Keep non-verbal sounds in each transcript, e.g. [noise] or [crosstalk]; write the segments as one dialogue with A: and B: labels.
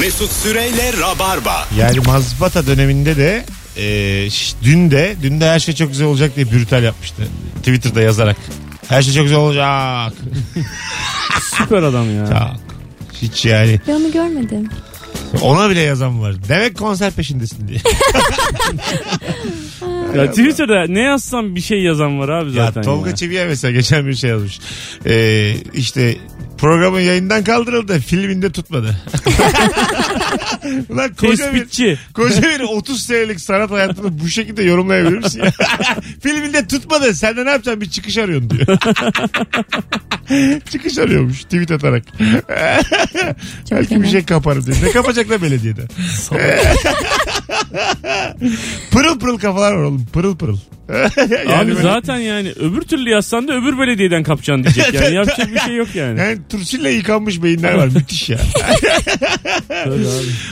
A: Mesut Süreyle Rabarba.
B: Yani mazbata döneminde de e, ş- dün de dün de her şey çok güzel olacak diye brutal yapmıştı. Twitter'da yazarak. Her şey çok güzel olacak.
C: Süper adam ya.
B: Tak. Hiç yani.
D: Ben onu görmedim.
B: Ona bile yazan var. Demek konser peşindesin diye.
C: ya Twitter'da ne yazsam bir şey yazan var abi
B: ya
C: [laughs] zaten.
B: Tolga
C: ya.
B: Çiviye mesela geçen bir şey yazmış. Ee, işte programın yayından kaldırıldı. Filminde
C: [laughs]
B: tutmadı. Ulan koca bir,
C: Tespitçi.
B: koca bir 30 senelik sanat hayatını bu şekilde yorumlayabilir
C: [laughs]
B: misin? [laughs] ya? Filminde tutmadı. Sen de ne yapacaksın? Bir çıkış arıyorsun
C: [laughs]
B: diyor. çıkış arıyormuş tweet atarak.
D: Çok
B: Belki bir
D: fena.
B: şey kaparım diyor. Ne kapacaklar belediyede? [laughs] pırıl pırıl kafalar var oğlum. Pırıl pırıl. [laughs]
C: abi
B: böyle-
C: zaten yani öbür türlü yazsan da öbür belediyeden kapacaksın diyecek
B: [laughs]
C: yani. Yapacak bir şey yok yani.
B: Yani turşuyla yıkanmış beyinler var. Müthiş ya.
C: Tabii abi.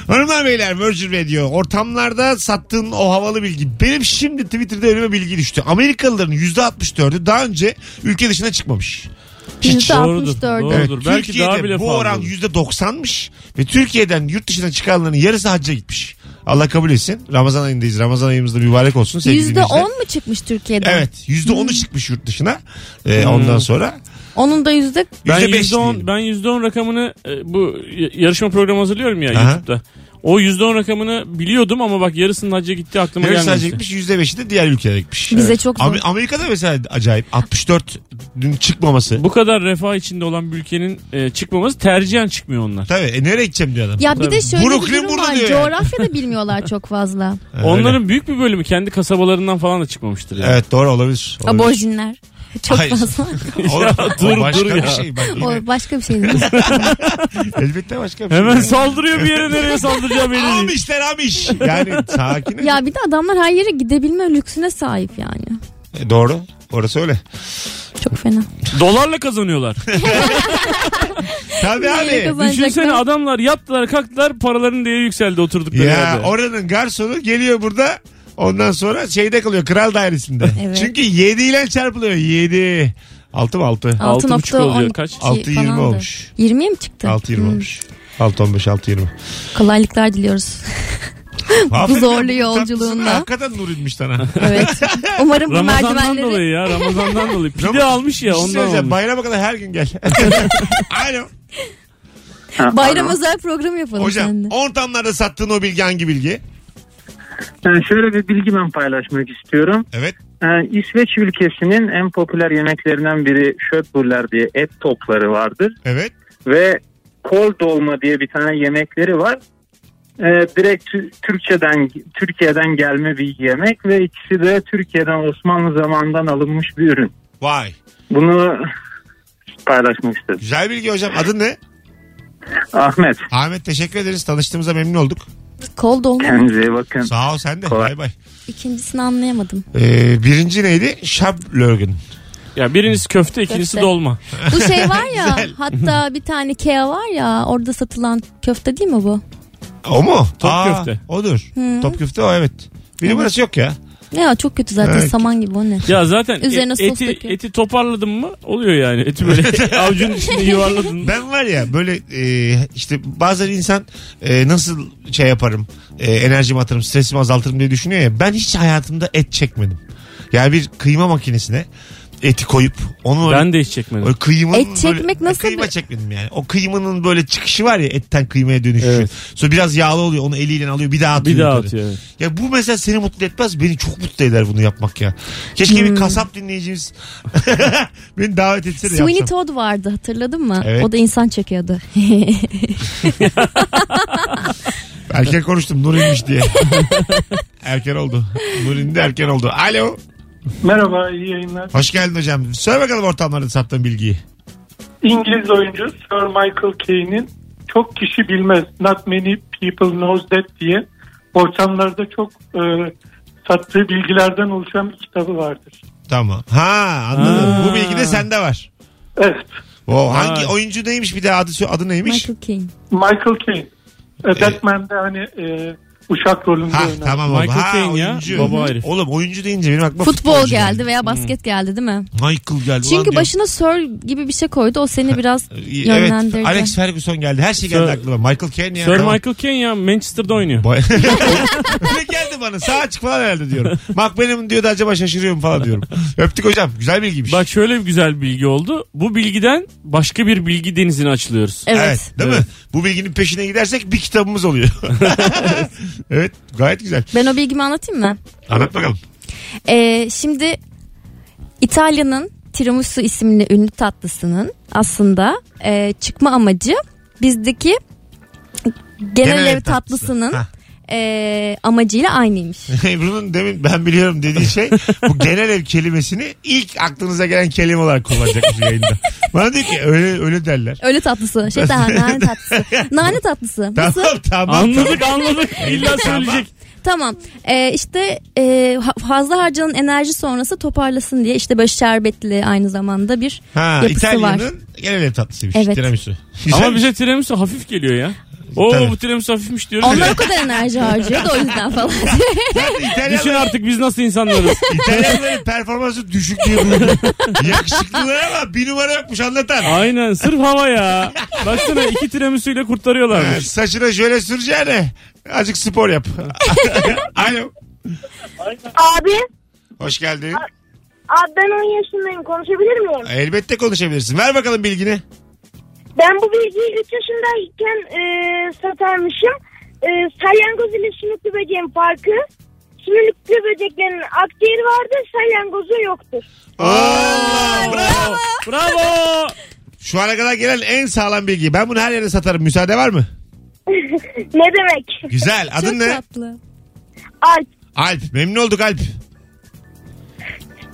B: Hanımlar beyler Virgin Radio. Ortamlarda sattığın o havalı bilgi. Benim şimdi Twitter'da önüme bilgi düştü. Amerikalıların %64'ü daha önce ülke dışına çıkmamış. Hiç.
D: %64'ü.
C: Doğrudur, doğru.
B: Evet,
C: Belki daha
B: Türkiye'de
C: bile
B: bu
C: fazla
B: oran
C: olur.
B: %90'mış ve Türkiye'den yurt dışına çıkanların yarısı hacca gitmiş. Allah kabul etsin. Ramazan ayındayız. Ramazan ayımızda mübarek olsun. sevgili dinleyiciler.
D: %10 mu çıkmış Türkiye'den?
B: Evet. Yüzde onu çıkmış yurt dışına. Ee, Ondan sonra.
D: Onun da yüzde
C: Hmm. Ben
B: Yüzde beş
C: yüzde on,
B: diyelim.
C: ben yüzde on rakamını e, bu y- yarışma programı hazırlıyorum ya
B: Aha.
C: YouTube'da. O yüzde on rakamını biliyordum ama bak yarısının hacca gitti aklıma
B: Yarısı hacca
C: gelmedi.
B: gitmiş. Yüzde beşi de diğer ülkelere gitmiş.
D: bize çok zor.
B: Am- Amerika'da mesela acayip. 64 dün çıkmaması.
C: Bu kadar refah içinde olan bir ülkenin e, çıkmaması tercihen çıkmıyor onlar.
B: Tabii. E, nereye gideceğim diyor adam.
D: Ya bir de şöyle
B: Brooklyn
D: bir durum
B: burada
D: var.
B: diyor yani.
D: Coğrafya da bilmiyorlar çok fazla.
B: Ha,
C: Onların
B: öyle.
C: büyük bir bölümü kendi kasabalarından falan da çıkmamıştır. Yani.
B: Evet [laughs] doğru olabilir. olabilir.
D: Aborjinler. Çok
B: Hayır.
D: fazla.
B: O,
C: dur,
B: o başka
C: dur
B: bir
C: ya.
B: şey. Bak, [laughs] yine-
D: O başka bir şey değil.
B: elbette başka bir şey.
C: Hemen saldırıyor bir yere nereye saldıracağı belli değil.
B: Amişler amiş. Yani sakin. ol.
D: ya bir de adamlar her yere gidebilme lüksüne sahip yani.
B: E, doğru. Orası öyle.
D: Çok fena.
C: Dolarla kazanıyorlar.
B: Tabii
D: Neyle
B: abi.
D: kazanacaklar?
C: Düşünsene adamlar yattılar kalktılar paraların değeri yükseldi oturdukları
B: Ya
C: yerde.
B: oranın garsonu geliyor burada. Ondan sonra şeyde kalıyor kral dairesinde.
D: Evet.
B: Çünkü 7 ile çarpılıyor. 7. 6 mı 6?
C: Altı buçuk oluyor.
D: 6.12
C: Kaç?
B: Altı yirmi
D: falandı.
B: olmuş.
D: 20'ye mi çıktı?
B: 6 20
D: Hmm.
B: olmuş. 6 15 6
D: [laughs]
B: 20.
D: Kolaylıklar
B: [laughs]
D: diliyoruz.
B: Aferin
D: zorlu
B: ya, bu tatlısın
D: yolculuğunda.
B: ha. Hakikaten nur inmiş
C: [laughs]
B: sana.
D: Evet. Umarım bu
C: Ramazan'dan dolayı
D: merdivenleri...
C: ya Ramazan'dan
B: [laughs]
C: dolayı. Pide
B: Ramazan-
C: almış ya
B: Bir şey
C: ondan
B: söyleyeceğim.
C: olmuş.
B: Bayrama kadar her
D: [laughs]
B: gün gel. Alo.
E: Ha,
D: Bayram
E: alo.
D: özel program yapalım
B: Hocam
D: seninle.
B: ortamlarda sattığın o bilgi hangi bilgi?
E: Yani şöyle bir bilgi ben paylaşmak istiyorum.
B: Evet.
E: Ee, İsveç ülkesinin en popüler yemeklerinden biri şöpürler diye et topları vardır.
B: Evet.
E: Ve kol dolma diye bir tane yemekleri var. Ee, direkt Tü- Türkçeden Türkiye'den gelme bir yemek ve ikisi de Türkiye'den Osmanlı zamanından alınmış bir ürün.
B: Vay.
E: Bunu paylaşmak istedim.
B: Güzel bilgi hocam. Adın ne?
E: Ahmet
B: Ahmet teşekkür ederiz. Tanıştığımıza memnun olduk.
D: Kol dolma.
E: kendinize iyi bakın.
B: Sağ ol sen de.
E: Kolay.
B: Bay bay.
D: İkincisini anlayamadım.
B: Ee, birinci neydi? Şablörgün.
C: Ya birincisi köfte ikincisi
D: Köfte.
C: dolma.
D: Bu
B: [laughs]
D: şey var ya hatta bir tane Kea var ya orada satılan köfte değil mi bu?
B: O mu?
C: Top köfte.
B: Odur.
D: Hı.
B: Top köfte o evet. Bir numarası yok ya.
D: Ya çok kötü zaten
B: Evet.
D: saman gibi o ne?
C: Ya zaten e-
D: Üzerine sos
C: eti,
D: döküyor.
C: eti toparladın mı oluyor yani.
B: [laughs]
C: Eti böyle avucun içinde yuvarladın.
B: Ben var ya böyle e, işte bazen insan e, nasıl şey yaparım, e, enerjimi atarım, stresimi azaltırım diye düşünüyor ya. Ben hiç hayatımda et çekmedim. Yani bir kıyma makinesine eti koyup onu öyle,
C: Ben de hiç çekmedim.
B: öyle kıymanın
D: Et çekmek
B: böyle,
D: nasıl
B: kıyma
D: bir-
B: çekmedim yani. O kıymanın böyle çıkışı var ya etten kıymaya dönüşü.
C: Evet.
B: Sonra biraz yağlı oluyor onu eliyle alıyor bir daha atıyor.
C: Bir daha
B: yukarı.
C: atıyor. evet.
B: Ya bu mesela seni mutlu etmez. Beni çok mutlu eder bunu yapmak ya. Keşke
D: Hmm.
B: bir kasap dinleyicimiz [laughs] beni davet etse de
D: Sweeney
B: yapsam.
D: Todd vardı hatırladın mı?
B: Evet.
D: O da insan çekiyordu.
B: Erken konuştum Nurin'miş
C: [laughs]
B: diye. erken oldu. Nurin de erken oldu. Alo.
F: Merhaba, iyi yayınlar.
B: Hoş geldin hocam. Söyle bakalım ortamlarda sattığın bilgiyi.
F: İngiliz oyuncu Sir Michael Caine'in çok kişi bilmez, not many people knows that diye ortamlarda çok e, sattığı bilgilerden oluşan bir kitabı vardır.
B: Tamam. Ha anladım.
C: Ha.
B: Bu bilgi de sende var.
F: Evet,
B: O hangi
C: Ha.
B: oyuncu neymiş bir de adı adı neymiş?
D: Michael King.
F: Michael Caine. E,
B: Ee,
F: Batman'de hani e, Uşak rolünde
B: Ha
F: oynadı.
B: tamam
C: Michael
B: baba. Ha,
C: Caine ya,
B: oyuncu.
C: baba herif.
B: Oğlum oyuncu deyince benim aklıma
D: Futbol
B: futbolcu
D: geldi veya basket geldi değil mi?
B: Michael geldi. Ulan
D: Çünkü
B: diyorum.
D: başına Sir gibi bir şey koydu. O seni biraz
B: [laughs] Evet
D: yönlendirdi.
B: Alex Ferguson geldi. Her şey geldi
C: Sir-
B: aklıma. Michael Caine ya.
C: Sir
B: tamam.
C: Michael Caine ya Manchester'da oynuyor.
B: Bay- [laughs] ne geldi bana sağ açık falan herhalde diyorum. Bak benim diyor da acaba şaşırıyorum falan diyorum. Öptük hocam güzel bilgiymiş.
C: Bak şöyle bir güzel bilgi oldu. Bu bilgiden başka bir bilgi denizine açılıyoruz.
D: Evet.
B: değil
C: Evet.
B: mi? Bu bilginin peşine gidersek bir kitabımız
D: [laughs]
B: oluyor. evet gayet güzel.
D: Ben o bilgimi anlatayım mı?
B: Anlat bakalım.
D: Ee, şimdi İtalya'nın tiramisu isimli ünlü tatlısının aslında e, çıkma amacı bizdeki genel, ev
B: [laughs]
D: tatlısının
B: Hah.
D: e, amacıyla aynıymış.
B: Ebru'nun demin ben biliyorum dediği şey bu genel ev kelimesini ilk aklınıza gelen kelime olarak kullanacakmış yayında. Bana diyor ki öyle öyle derler.
D: Öyle tatlısı.
B: [laughs]
D: Şey daha nane tatlısı. Nane tatlısı. Nasıl?
B: Tamam tamam. [laughs]
C: Anladık anladık. İlla söyleyecek.
D: Tamam. Ee, işte e, ha- fazla harcanan enerji sonrası toparlasın diye işte böyle şerbetli aynı zamanda bir
B: Ha,
D: yapısı var.
B: İtalya'nın genel ev tatlısıymış.
D: Evet. şey-
B: Tiramisu.
C: Ama
B: Güzelmiş.
C: bize tiramisu hafif geliyor ya. Oo
B: Tabii.
C: bu tiramisu hafifmiş diyoruz.
D: Onlar
C: ya.
D: o kadar enerji harcıyor da o
B: [laughs]
D: yüzden falan.
C: Düşün
B: İtalyanlar-
C: artık biz
B: [laughs]
C: nasıl insanlarız.
B: İtalyanların performansı düşük diye duydum. Yakışıklılar ama bir numara yokmuş anlatan.
C: Aynen sırf hava ya. Baksana iki tiramisuyla
B: Ha,
C: kurtarıyorlarmış.
B: Saçına şöyle süreceğine azıcık spor
C: [laughs]
B: yap. Alo.
G: Abi,
B: Hoş geldin.
G: abi ben 10 yaşındayım. Konuşabilir miyim?
B: Elbette konuşabilirsin. Ver bakalım bilgini.
G: Ben bu bilgiyi 3 yaşındayken e, satarmışım. E, salyangoz ile sümüklü böceğin farkı. Sümüklü böceklerin akciğeri vardır, salyangozu yoktur. [laughs]
B: Allah! Bravo.
C: Bravo. Bravo.
B: Şu ana kadar gelen en sağlam bilgi. Ben bunu her yere satarım. Müsaade var mı?
G: ne demek?
B: Güzel. Adın
D: Çok
B: ne?
D: tatlı.
G: Alp,
B: Alp. Memnun olduk Alp.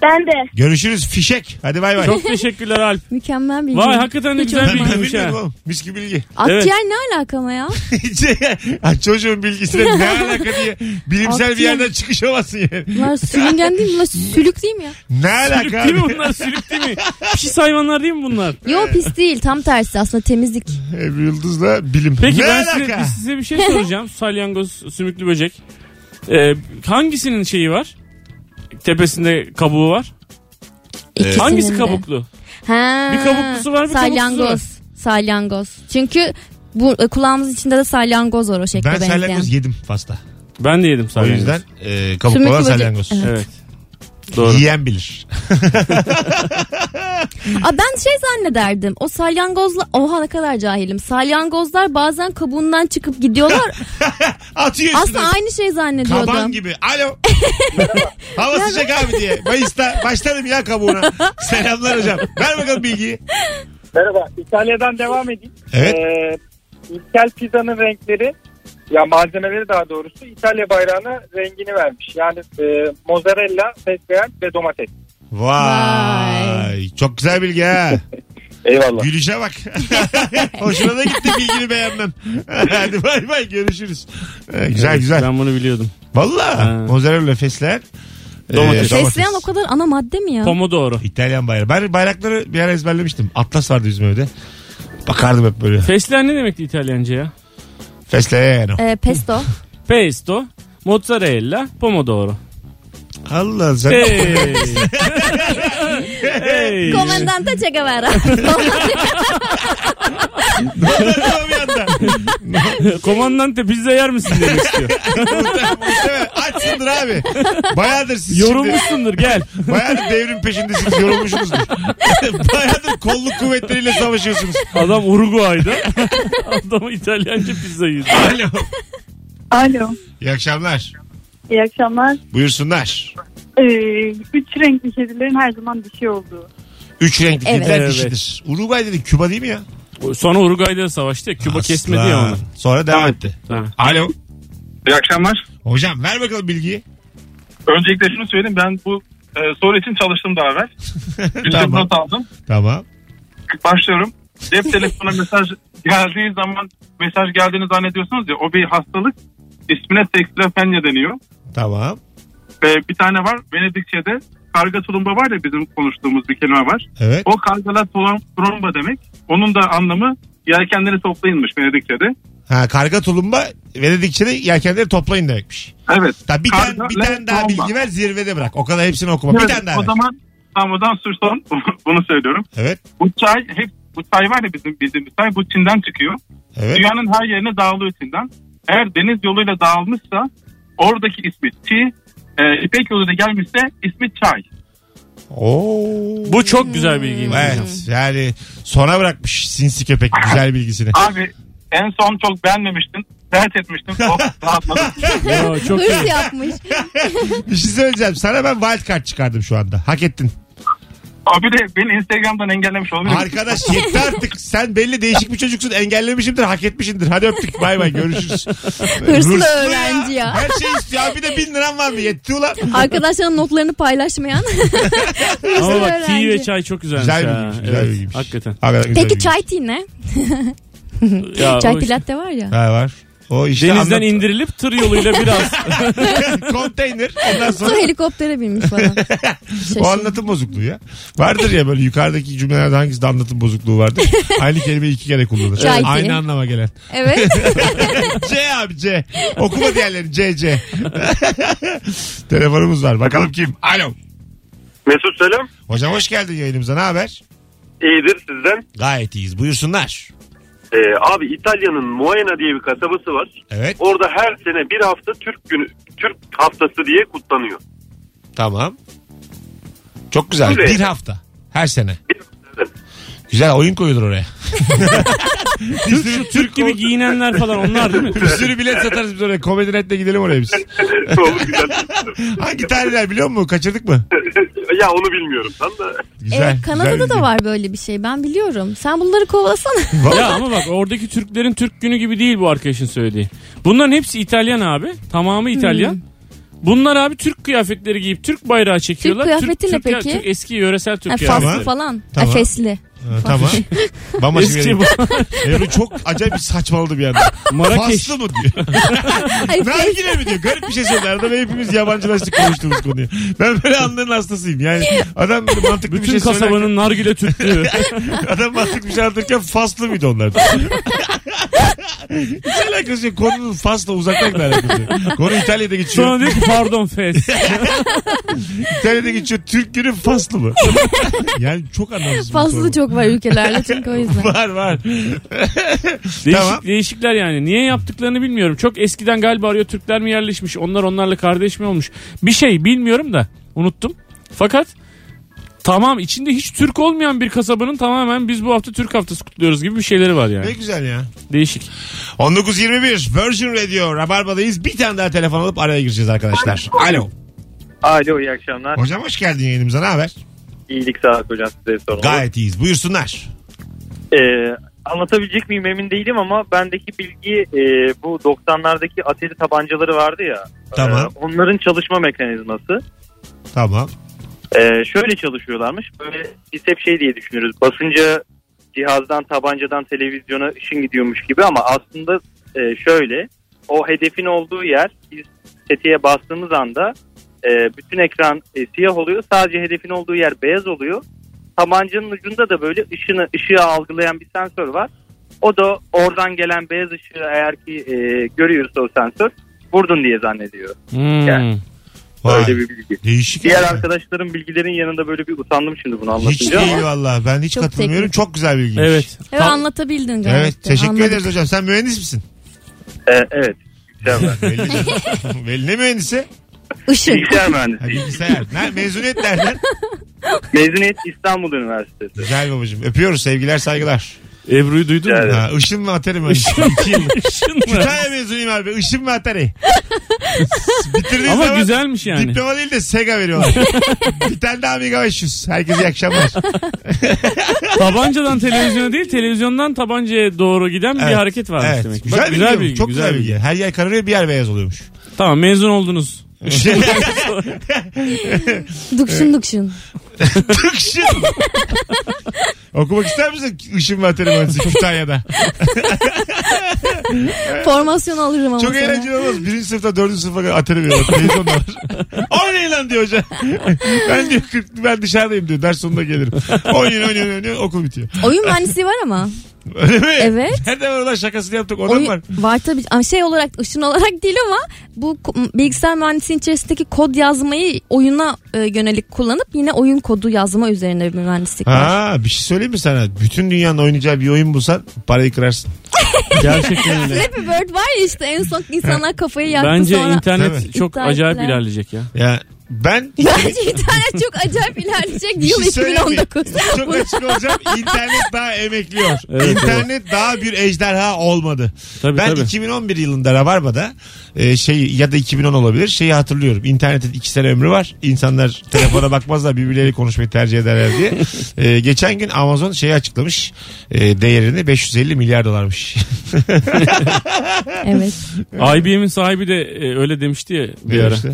G: ben de.
B: Görüşürüz fişek. Hadi bay bay.
C: Çok teşekkürler Alp.
D: Mükemmel bilgi.
C: Vay hakikaten de
D: Hiç
C: güzel
B: ben, ben
C: bilgiymiş ha.
B: bilmiyorum oğlum. Mis gibi bilgi. [laughs]
D: Akciğer
C: Evet.
D: ne alakama ya?
B: Ha, Çocuğun bilgisine
D: [laughs]
B: ne alaka diye bilimsel bir
D: Akciğer.
B: yerden çıkışamazsın yani.
D: Bunlar sürüngen değil mi? Bunlar sülük değil mi ya?
B: Ne
C: Sülük
B: alaka
C: değil mi
B: abi?
C: bunlar sülük değil mi? Pis hayvanlar değil mi bunlar?
D: Yo pis değil. Tam tersi aslında temizlik.
B: Ebru Yıldız'la bilim.
C: Peki
B: ne
C: ben size,
B: alaka?
C: size bir şey
B: [laughs]
C: soracağım. Salyangoz, sümüklü böcek. Ee, hangisinin şeyi var? Tepesinde kabuğu var.
D: İkisinin
C: Hangisi
D: de.
C: kabuklu?
D: Ha,
C: Bir kabuklusu var, bir kabuksuzu
D: salyangoz. Salyangoz. Çünkü bu e, kulağımızın içinde de salyangoz var o şekilde
B: Ben
D: benzeyen.
B: salyangoz yedim pasta.
C: Ben de yedim
B: O
C: salyangoz.
B: yüzden e, kabuk
D: Sümüklü
B: olan
D: böcek.
B: salyangoz.
D: Evet.
C: Evet. Doğru.
B: Yiyen bilir. [laughs]
D: Aa, ben şey zannederdim. O salyangozla oha ne kadar cahilim. Salyangozlar bazen kabuğundan
C: [laughs]
D: çıkıp gidiyorlar.
B: Atıyorsun.
D: Aslında aynı şey zannediyordum.
B: Kaban gibi. Alo. Hava sıcak abi diye. Mayıs'ta başladım ya kabuğuna. Selamlar hocam. Ver bakalım bilgiyi.
H: Merhaba. İtalya'dan devam edeyim.
B: Evet.
H: Ee, ilkel pizzanın renkleri ya malzemeleri daha doğrusu İtalya bayrağına rengini vermiş. Yani e, mozzarella, fesleğen ve domates.
B: Vay. Çok güzel bilgi ha.
H: [laughs] Eyvallah.
B: Gülüşe bak. [laughs] Hoşuna da gitti bilgini beğenmem. [laughs] Hadi bay bay görüşürüz. Ee, güzel
C: Evet,
B: güzel.
C: Ben bunu biliyordum.
B: Valla.
C: Ha.
B: Mozzarella fesleğen. ee,
C: Domates.
D: Fesleğen o kadar ana madde mi ya?
C: Pomodoro.
B: İtalyan bayrağı. Ben bayrakları bir ara ezberlemiştim. Atlas vardı bizim evde. Bakardım hep böyle.
C: Fesleğen ne demekti İtalyanca ya?
B: Fesleğen.
D: Ee,
C: [laughs]
D: pesto.
C: Pesto, mozzarella, pomodoro.
B: Allah sen. [laughs]
C: Hey.
D: [laughs]
C: hey.
D: Komandante Che Guevara.
B: Anladım bir anda.
C: [laughs] Komandante pizza yer misin demek istiyor.
B: Muhtemelen Açsındır abi. Bayağıdır siz şimdi.
C: Yorulmuşsundur gel.
B: Bayağıdır devrim peşindesiniz. Yorulmuşsunuzdur.
C: [laughs]
B: Bayağıdır kolluk kuvvetleriyle savaşıyorsunuz.
C: Adam Uruguay'da. [laughs] Adam İtalyanca pizza yedi.
B: Alo.
I: Alo.
B: İyi akşamlar.
I: İyi akşamlar.
B: Buyursunlar.
I: Ee, üç renkli kedilerin her zaman dişi olduğu.
B: Üç renkli
D: Evet.
B: kediler
C: Evet.
B: dişidir. Uruguay dedi Küba değil mi ya?
C: Sonra Uruguay'da savaştı. ya, Küba
B: Aslan.
C: kesmedi ya onu.
B: Sonra devam etti.
C: Ha.
B: Alo.
J: İyi akşamlar.
B: Hocam ver bakalım bilgiyi.
J: Öncelikle şunu söyleyeyim. Ben bu e, soru için çalıştım daha
B: [laughs]
J: evvel. Bilgisayarı
B: Tamam.
J: not aldım.
B: Tamam.
J: Başlıyorum.
B: [laughs]
J: Cep telefona mesaj geldiği zaman mesaj geldiğini zannediyorsunuz ya o bir hastalık. İsmine seksilofenya deniyor.
B: Tamam.
J: Ve bir tane var Venedikçe'de karga tulumba var ya bizim konuştuğumuz bir kelime var.
B: Evet.
J: O kargalar tulum- tulumba demek. Onun da anlamı yelkenleri toplayınmış Venedikçe'de.
B: Ha, karga tulumba Venedikçe de yelkenleri toplayın demekmiş.
J: Evet.
B: Tabii bir
J: Karga
B: tane, bir
J: ve
B: tane daha
J: tromba.
B: bilgi ver zirvede bırak. O kadar hepsini okuma. Bir
J: Evet,
B: tane daha
J: O
B: ver.
J: zaman tam o zaman Sürson [laughs] bunu söylüyorum.
B: Evet.
J: Bu çay hep bu çay var ya bizim bildiğimiz çay bu Çin'den çıkıyor.
B: Evet.
J: Dünyanın her yerine dağılıyor Çin'den. Eğer deniz yoluyla dağılmışsa oradaki ismi çi, e, İpek yoluyla gelmişse ismi çay.
B: Oo.
C: Bu çok güzel bilgiymiş. hocam.
B: Evet yani sona bırakmış sinsi köpek güzel bilgisini.
J: Abi en son çok beğenmemiştin. Dert etmiştim. Çok rahatladım.
C: Bravo, çok
D: Hırs
C: iyi.
D: yapmış.
B: bir şey söyleyeceğim sana ben wild card çıkardım şu anda. Hak ettin.
J: Abi de beni Instagram'dan engellemiş olabilir.
B: Arkadaş yetti artık. Sen belli değişik bir çocuksun. Engellemişimdir, hak etmişimdir. Hadi öptük. Bay bay görüşürüz.
D: Hırslı öğrenci ya.
B: Her şey istiyor. Bir de bin liram var mı? Yetti ulan.
D: Arkadaşların notlarını paylaşmayan.
C: Ama bak
D: öğrenci.
C: tea ve çay çok güzelmiş.
B: Güzel
C: ha.
B: bilgiymiş, güzel
C: Evet,
B: bilgiymiş.
C: Hakikaten.
B: Hakikaten güzel
D: Peki
B: bir-
D: çay tea ne?
C: Ya, o
D: çay
C: işte-
D: pilatte var ya.
B: Ha, var. O işte
C: Denizden
B: anlat-
C: indirilip tır yoluyla
D: [laughs]
C: biraz.
B: [laughs] konteyner. Ondan
D: Su
B: sonra
D: helikoptere binmiş falan.
B: [laughs] o
D: Şaşırdım.
B: anlatım bozukluğu ya. Vardır ya böyle yukarıdaki cümlelerde hangisinde anlatım bozukluğu
D: [laughs]
B: vardır? Aynı kelimeyi iki kere kullanır.
D: Çay diye.
B: Aynı anlama gelen. [laughs]
D: Evet.
B: C abi C. Okuma diğerlerini C C. [laughs] Telefonumuz var. Bakalım kim? Alo.
H: Mesut selam.
B: Hocam hoş geldin yayınımıza. Ne haber?
H: İyidir sizden.
B: Gayet iyiyiz. Buyursunlar.
H: Ee, abi İtalya'nın Moena diye bir kasabası var.
B: Evet.
H: Orada her sene bir hafta Türk günü Türk haftası diye kutlanıyor.
B: Tamam. Çok güzel.
H: Öyle.
B: Bir hafta. Her sene.
H: Evet.
B: Güzel oyun koyulur
H: [laughs]
B: oraya. bir sürü,
C: Türk gibi giyinenler falan
B: [laughs]
C: onlar değil mi?
B: bir sürü bilet satarız biz oraya. Komedi Net'le gidelim oraya
D: [laughs]
B: biz.
H: Olur güzel.
B: [laughs] Hangi tarihler biliyor musun? Kaçırdık mı?
H: [laughs] ya onu bilmiyorum tam da.
B: Güzel.
D: evet Ee, Kanada'da
B: güzel
D: da
B: bilgi.
D: var böyle bir şey. Ben biliyorum. Sen bunları kovalasana.
B: Vallahi-
C: ya ama bak oradaki Türklerin Türk günü gibi değil bu arkadaşın söylediği. Bunların hepsi İtalyan abi. Tamamı İtalyan. Bunlar abi Türk kıyafetleri giyip Türk bayrağı çekiyorlar.
D: kıyafeti ne
C: Türk,
D: peki?
C: Türk eski yöresel Türk
D: Ha,
C: kıyafetleri.
D: faslı falan. Ha,
B: Tamam.
D: fesli.
B: Ha, e,
C: [laughs]
B: tamam. Bambaşka bir
C: Eski
B: yere-
C: bu.
B: Ebru çok acayip bir saçmaladı bir anda.
C: [laughs] Marrakeş.
B: Faslı mı diyor. [laughs]
D: Hayır, fes-
B: Nargile mi diyor? Garip bir şey söyledi. Arada ve hepimiz yabancılaştık konuştuğumuz konuyu. Ben böyle anların hastasıyım. Yani adam böyle mantıklı
C: Bütün
B: bir şey söylerken,
C: kasabanın nargile Türklüğü.
B: [laughs] adam mantıklı bir şey anlatırken faslı mıydı onlar? [laughs] Hiç alakası yok. Konunun fasla uzaklıkla alakası yok. Konu İtalya'da geçiyor.
C: Sonra diyor ki pardon fes.
B: İtalya'da geçiyor. Türk günü faslı
D: [laughs]
B: mı? yani çok anlamsız bir soru.
D: Faslı çok var ülkelerde çünkü o yüzden.
B: Var var.
C: Değişik,
B: Tamam.
C: Değişikler yani. Niye yaptıklarını bilmiyorum. Çok eskiden galiba arıyor Türkler mi yerleşmiş? Onlar onlarla kardeş mi olmuş? Bir şey bilmiyorum da unuttum. Fakat tamam içinde hiç Türk olmayan bir kasabanın tamamen biz bu hafta Türk haftası kutluyoruz gibi bir şeyleri var
B: Ne
C: yani.
B: güzel ya.
C: Değişik.
B: 19.21 Virgin Radio Rabarba'dayız. Bir tane daha telefon alıp araya gireceğiz arkadaşlar. Alo.
H: Alo iyi akşamlar.
B: Hocam hoş geldin yayınımıza. Ne haber?
H: İyilik sağlık hocam size sorun.
B: Gayet iyiyiz. Buyursunlar.
H: Ee, anlatabilecek miyim emin değilim ama bendeki bilgi e, bu 90'lardaki ateli tabancaları vardı ya.
B: Tamam.
H: Ee, onların çalışma mekanizması.
B: Tamam.
H: Ee, şöyle çalışıyorlarmış. Böyle biz hep şey diye düşünürüz. Basınca cihazdan, tabancadan televizyona ışın gidiyormuş gibi ama aslında e, şöyle. O hedefin olduğu yer biz tetiğe bastığımız anda e, bütün ekran e, siyah oluyor. Sadece hedefin olduğu yer beyaz oluyor. Tabancanın ucunda da böyle ışını ışığı algılayan bir sensör var. O da oradan gelen beyaz ışığı eğer ki e, görüyorsa o sensör vurdun diye zannediyor.
C: Hmm.
H: Yani.
B: Vay.
H: Öyle bir bilgi.
B: Değişik.
H: Diğer
B: ya.
H: arkadaşların bilgilerin yanında böyle bir utandım şimdi bunu
B: Hiç
H: anlatınca.
B: değil valla. Ben hiç
D: Çok
B: katılmıyorum.
D: teknik.
B: Çok güzel bilgiymiş.
C: Evet.
D: Evet
C: Tam-
D: anlatabildin gayet.
B: Evet.
D: de.
B: Teşekkür
D: Anladık.
B: ederiz hocam. Sen mühendis misin?
H: Ee, evet. Bilgisayar
B: [laughs]
H: mühendisi.
B: Belli. canım. [laughs] Belli. Ne mühendisi?
D: Işık.
H: Bilgisayar
B: Ha,
H: mühendisi.
B: bilgisayar. Ne, mezuniyet
H: [laughs]
B: nereden?
H: Mezuniyet İstanbul Üniversitesi.
B: Güzel babacığım. Öpüyoruz. Sevgiler saygılar.
C: Ebru'yu duydun mu?
H: Evet.
B: Ha, [laughs] Işın mı atari mi?
C: Işın mı?
B: Kütahya mezunuyum abi. Işın mı atari? Bitirdiğin
C: Ama
B: zaman
C: güzelmiş yani.
B: diploma değil de Sega veriyorlar. bir tane daha Amiga 500. Herkese iyi akşamlar.
C: Tabancadan televizyona değil televizyondan tabancaya doğru giden bir
B: Evet.
C: hareket varmış
B: Evet.
C: demek.
B: Güzel,
C: Bak,
B: bilgi. bu. Çok güzel, bilgi. Her yer kararıyor bir yer beyaz oluyormuş. Şey,
C: Tamam mezun oldunuz.
D: Dukşun dukşun.
B: Işın. Okumak ister misin? Işın ve atari mühendisi Kütahya'da.
D: Formasyon alırım ama
B: Çok
D: sana.
B: eğlenceli olmaz. Birinci sınıfta dördüncü sınıfa kadar atari veriyorlar. Televizyon da var. Oynayın lan diyor hoca. ben diyor 40, ben dışarıdayım diyor. Ders sonunda gelirim. Oynayın oynayın oynayın okul bitiyor.
D: Oyun mühendisliği var ama.
B: Öyle mi?
D: Evet.
B: Nereden var ulan şakasını yaptık? Oradan
D: Oyun-
B: var.
D: Var tabii. Ama Şey olarak, ışın olarak değil ama bu ko- bilgisayar mühendisliği içerisindeki kod yazmayı oyuna e, yönelik kullanıp yine oyun kodu yazma üzerine bir mühendislik var.
B: Ha bir şey söyleyeyim mi sana? Bütün dünyanın oynayacağı bir oyun bulsan parayı
D: [laughs]
B: kırarsın.
C: Gerçekten öyle.
D: Flappy Bird var ya işte en son insanlar kafayı yaktı
C: Bence
D: sonra.
C: internet
B: Tabii.
C: çok
D: İptal
C: acayip
D: ettiler.
C: ilerleyecek ya.
B: Ya ben
D: [laughs] Bence internet çok acayip ilerleyecek
B: Bir
D: yıl
B: şey söyleyeyim mi?
D: 2019.
B: [laughs] Çok açık olacağım. İnternet daha emekliyor.
C: Evet,
B: İnternet daha bir ejderha olmadı.
C: Tabii,
B: ben
C: tabii.
B: 2011 yılında Rabarba'da e, şey ya da 2010 olabilir şeyi hatırlıyorum. İnternetin iki sene ömrü var.
C: [laughs]
B: İnsanlar telefona bakmazlar birbirleriyle konuşmayı tercih ederler diye. E, geçen gün Amazon şeyi açıklamış. E, değerini 550 milyar dolarmış. [laughs]
D: evet.
C: IBM'in sahibi de e, öyle demişti ya [laughs] bir ara.
B: İşte.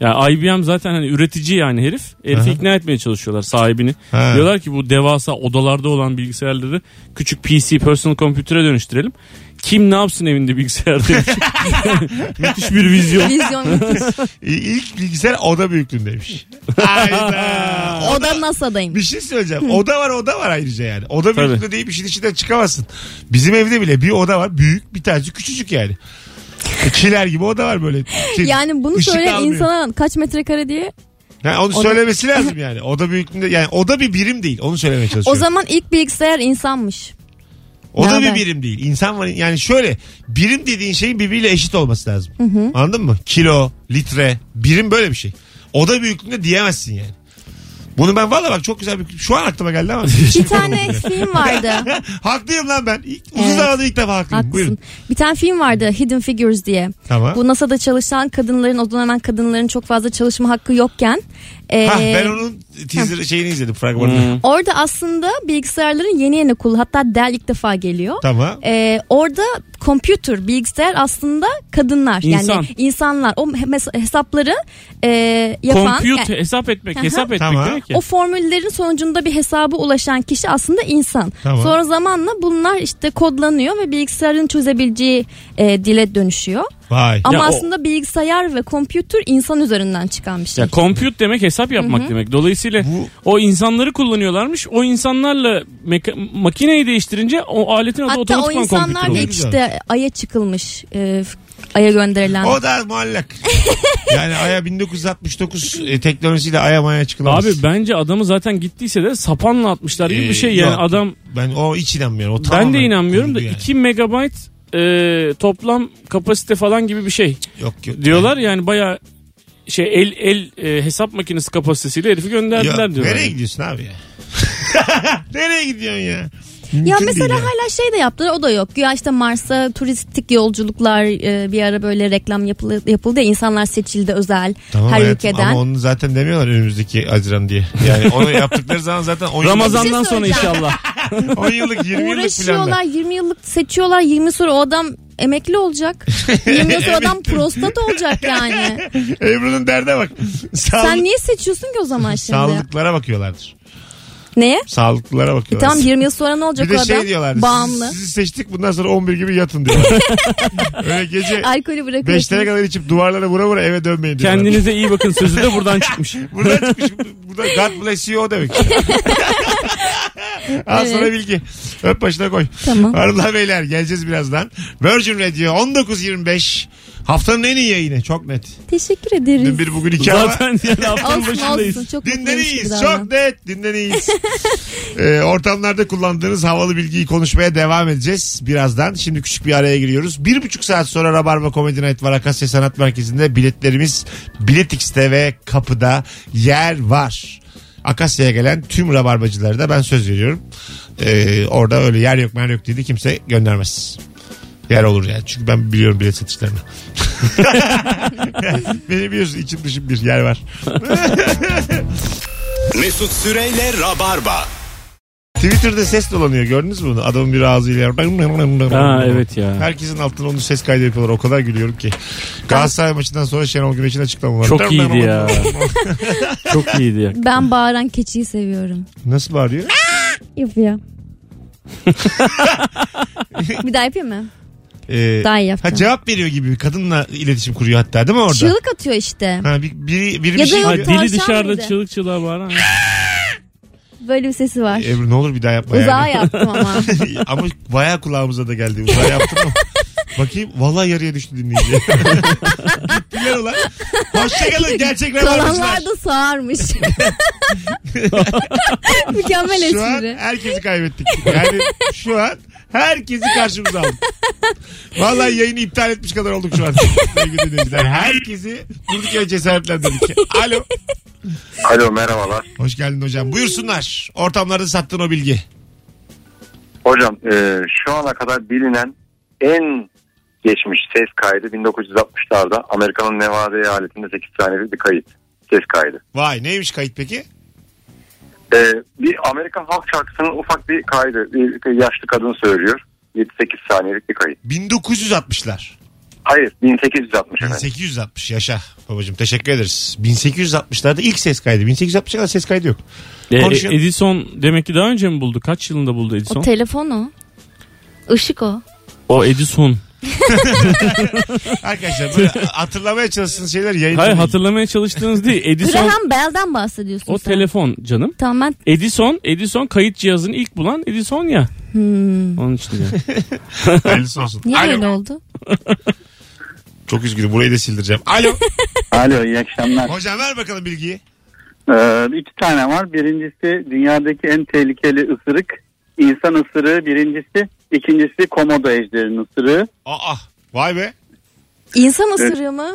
C: Yani IBM zaten hani üretici yani herif. Herifi
B: Aha.
C: ikna etmeye çalışıyorlar sahibini.
B: Ha.
C: Diyorlar ki bu devasa odalarda olan bilgisayarları küçük PC personal computer'a dönüştürelim. Kim ne yapsın evinde bilgisayar demiş. [laughs] Müthiş bir vizyon.
D: Vizyon müthiş.
B: E, İlk bilgisayar oda
C: [laughs]
B: büyüklüğündeymiş. Hayda.
D: O da NASA'dayım.
B: Bir şey söyleyeceğim. Oda var oda var ayrıca yani. Oda
C: Tabii.
B: büyüklüğü deyip işin içinden çıkamazsın. Bizim evde bile bir oda var büyük bir tanesi küçücük yani. Çiler gibi oda var böyle. Şey,
D: Yani bunu
B: ışık
D: söyleyen
B: almıyor.
D: insana kaç metrekare diye.
B: Ha, onu
D: Oda-
B: söylemesi lazım yani. Oda büyüklüğünde yani oda bir birim değil. Onu söylemeye
D: O
B: çalışıyorum.
D: zaman ilk
B: [laughs]
D: bilgisayar insanmış.
B: oda bir
D: Beraber.
B: birim değil. İnsan var yani şöyle birim dediğin şeyin birbiriyle eşit olması lazım. Anladın mı? Kilo, litre, birim böyle bir şey. Oda büyüklüğünde diyemezsin yani. Bunu ben valla bak çok güzel bir şu an aklıma geldi ama.
D: Bir tane film vardı.
B: Haklıyım lan ben. İlk, uzun
D: Evet.
B: zamanda ilk defa haklıyım.
D: Haklısın.
B: Buyurun.
D: Bir tane film vardı Hidden Figures diye.
B: Tamam.
D: Bu NASA'da çalışan kadınların o dönem kadınların çok fazla çalışma hakkı yokken. e,
B: Hah, ben onun teaser şeyini izledim fragmanını.
D: Orada aslında bilgisayarların yeni yeni kullanıldığı hatta Dell ilk defa geliyor.
B: Tamam.
D: Ee, orada computer bilgisayar aslında kadınlar
C: İnsan.
D: yani insanlar o he- mes- hesapları e, yapan
C: Compute
D: yani
C: hesap etmek,
D: Aha.
C: hesap etmek
B: Tamam.
C: demek ya.
D: o formüllerin sonucunda bir hesabı ulaşan kişi aslında insan.
B: Tamam.
D: Sonra zamanla bunlar işte kodlanıyor ve bilgisayarın çözebileceği e, dile dönüşüyor.
B: Vay.
D: Ama
C: Ya o-
D: aslında bilgisayar ve computer insan üzerinden çıkan bir şey.
C: Ya compute demek hesap yapmak demek. Dolayısıyla
B: Bu-
C: o insanları kullanıyorlarmış. O insanlarla meka- makineyi değiştirince o aletin adı
D: Hatta o
C: otomatikman computer
D: insanlar da
C: oluyor.
D: işte Ay'a çıkılmış. e, Ay'a gönderilen.
B: O da
C: [laughs]
B: muallak. yani Ay'a 1969 e, teknolojisiyle Ay'a maya çıkılamaz.
C: Abi bence adamı zaten gittiyse de sapanla atmışlar gibi
B: Ee,
C: bir şey yani
B: yok.
C: adam
B: Ben o hiç inanmıyorum. O
C: ben
B: tamamen
C: de inanmıyorum da
B: kurgu yani.
C: 2 megabayt e, toplam kapasite falan gibi bir şey
B: Yok, yok.
C: diyorlar yani baya şey el el e, hesap makinesi kapasitesiyle herifi
B: Yok,
C: gönderdiler diyorlar.
B: nereye
C: Yani.
B: gidiyorsun abi ya? [laughs] nereye gidiyorsun ya?
D: Ya
B: Mümkün
D: mesela
B: değil yani.
D: hala şey de yaptılar o da yok. Ya işte Mars'a turistik yolculuklar e, bir ara böyle reklam yapıldı, yapıldı ya, insanlar seçildi özel
B: Tamam
D: her
B: hayatım,
D: ülkeden.
B: Ama onu zaten demiyorlar önümüzdeki Haziran diye. Yani
C: [laughs]
B: onu yaptıkları zaman zaten 10 yıllık,
C: Ramazan'dan
D: Bir şey
C: sonra
D: söyleyeceğim.
C: inşallah.
B: 10 yıllık 20 yıllık
D: Uğraşıyorlar
B: planlar.
D: 20 yıllık seçiyorlar 20 sonra o adam
B: [laughs]
D: emekli olacak. 20 yıl sonra adam
B: Emekli.
D: prostat olacak yani.
B: Ebru'nun derde bak. Sağlık,
D: Sen niye seçiyorsun ki o zaman şimdi?
B: sağlıklılara bakıyorlardır.
D: Neye?
B: Sağlıklılara
D: E
B: bakıyorlar.
D: tamam 20 yıl sonra ne olacak
B: Bir de
D: o adam?
B: şey diyorlardı.
D: Bağımlı.
B: Sizi seçtik bundan sonra 11 gibi yatın
D: [laughs]
B: diyorlar. Öyle gece
D: Alkolü bırakıyorsun.
B: 5'lere kadar içip duvarlara vura vura eve dönmeyin diyorlar.
C: Kendinize iyi bakın sözü de
B: [laughs]
C: buradan çıkmış.
B: Buradan çıkmış. Burada God bless you o
D: [laughs]
B: demek. Al sana
D: Evet.
B: bilgi. Öp başına koy.
D: Tamam.
B: Arılar beyler geleceğiz birazdan. Virgin Radio 19.25. Haftanın en iyi yayını çok net.
D: Teşekkür ederiz.
B: Dün bir bugün iki ama.
C: Zaten yani haftanın
D: Olsun
C: başındayız.
D: olsun. Çok
B: Dinden
D: mutluymuş gibi
B: iyiyiz.
D: davran.
B: Çok net. Dinden iyiyiz. Ee, ortamlarda kullandığınız havalı bilgiyi konuşmaya devam edeceğiz birazdan. Şimdi küçük bir araya giriyoruz. Bir buçuk saat sonra Rabarba Comedy Night var. Akasya Sanat Merkezi'nde biletlerimiz Biletix'te ve kapıda yer var. Akasya'ya gelen tüm rabarbacılara da ben söz veriyorum. Ee, orada öyle yer yok mer yok dedi kimse göndermez. Yer olur yani. Çünkü ben biliyorum bilet satışlarını. [laughs] Beni biliyorsun içim dışım bir yer var.
A: Mesut Süreyle Rabarba.
B: Twitter'da ses dolanıyor gördünüz mü bunu? Adamın bir ağzıyla.
C: Ha evet ya.
B: Herkesin altına onun ses kaydı yapıyorlar. O kadar gülüyorum ki. Galatasaray maçından sonra Şenol Güneş'in açıklamaları.
C: Çok iyiydi ya. Çok iyiydi ya.
D: Ben bağıran keçiyi seviyorum.
B: [laughs] Nasıl bağırıyor?
D: Yapıyor. [laughs] bir daha yapayım mı?
B: Ee,
D: Daha iyi
B: ha,
D: yapacağım.
B: cevap veriyor gibi bir kadınla iletişim kuruyor hatta değil mi orada?
D: Çığlık atıyor işte.
B: Ha, bir, biri, biri
D: Ya
B: bir
D: da
B: şey
D: yok,
C: Ha,
B: diyor.
D: tavşan
C: dili dışarıda
D: mıydı?
C: çığlık çığlığa bağıran.
D: Böyle bir sesi var.
B: Ebru ne olur bir daha yapma
D: Uzağa
B: yani. [laughs]
D: yaptım ama.
B: ama bayağı kulağımıza da geldi. Uzağa yaptın mı? [laughs] Bakayım vallahi yarıya düştü dinleyici. [laughs] Gittiler ulan. Hoşçakalın gerçek rabarbacılar.
D: Kalanlar
B: [laughs]
D: da sağarmış. Mükemmel
B: Şu an
D: espri.
B: herkesi kaybettik. Yani şu an herkesi karşımıza aldık. Vallahi yayını iptal etmiş kadar olduk şu an. Sevgili dinleyiciler. Herkesi durduk yere cesaretlendirdik. Alo.
H: Alo merhabalar.
B: Hoş geldin hocam. Buyursunlar. Ortamlarda sattığın o bilgi.
H: Hocam e, şu ana kadar bilinen en geçmiş ses kaydı 1960'larda Amerika'nın Nevada eyaletinde 8 saniyelik bir kayıt. Ses kaydı.
B: Vay neymiş kayıt peki?
H: E, bir Amerikan halk şarkısının ufak bir kaydı. Bir yaşlı kadın söylüyor. 7-8 saniyelik bir kayıt.
B: 1960'lar.
H: Hayır 1860 efendim.
B: 1860 yaşa babacığım teşekkür ederiz. 1860'larda ilk ses kaydı. 1860'a kadar ses kaydı yok.
C: E,
B: Konuşuyor.
C: Edison demek ki daha önce mi buldu? Kaç yılında buldu
D: O
C: Edison?
D: telefon o. Işık o.
C: o Edison.
B: Arkadaşlar böyle hatırlamaya çalıştığınız şeyler yayın.
C: Hayır hatırlamaya çalıştığınız değil. Edison
D: Graham Bell'den bahsediyorsun
C: o
D: sen.
C: telefon canım.
D: Tamam ben
C: Edison, Edison kayıt cihazını ilk bulan Edison ya. Onun için diyorum.
B: Hayırlısı olsun.
D: niye
B: Alo.
D: öyle oldu?
B: Çok üzgünüm burayı da sildireceğim. Alo.
E: Alo iyi akşamlar.
B: Hocam ver bakalım bilgiyi.
E: Ee, iki tane var. Birincisi dünyadaki en tehlikeli ısırık. İnsan ısırığı birincisi. ikincisi komodo ejderinin ısırığı.
B: Aa vay be.
D: İnsan ısırığı mı?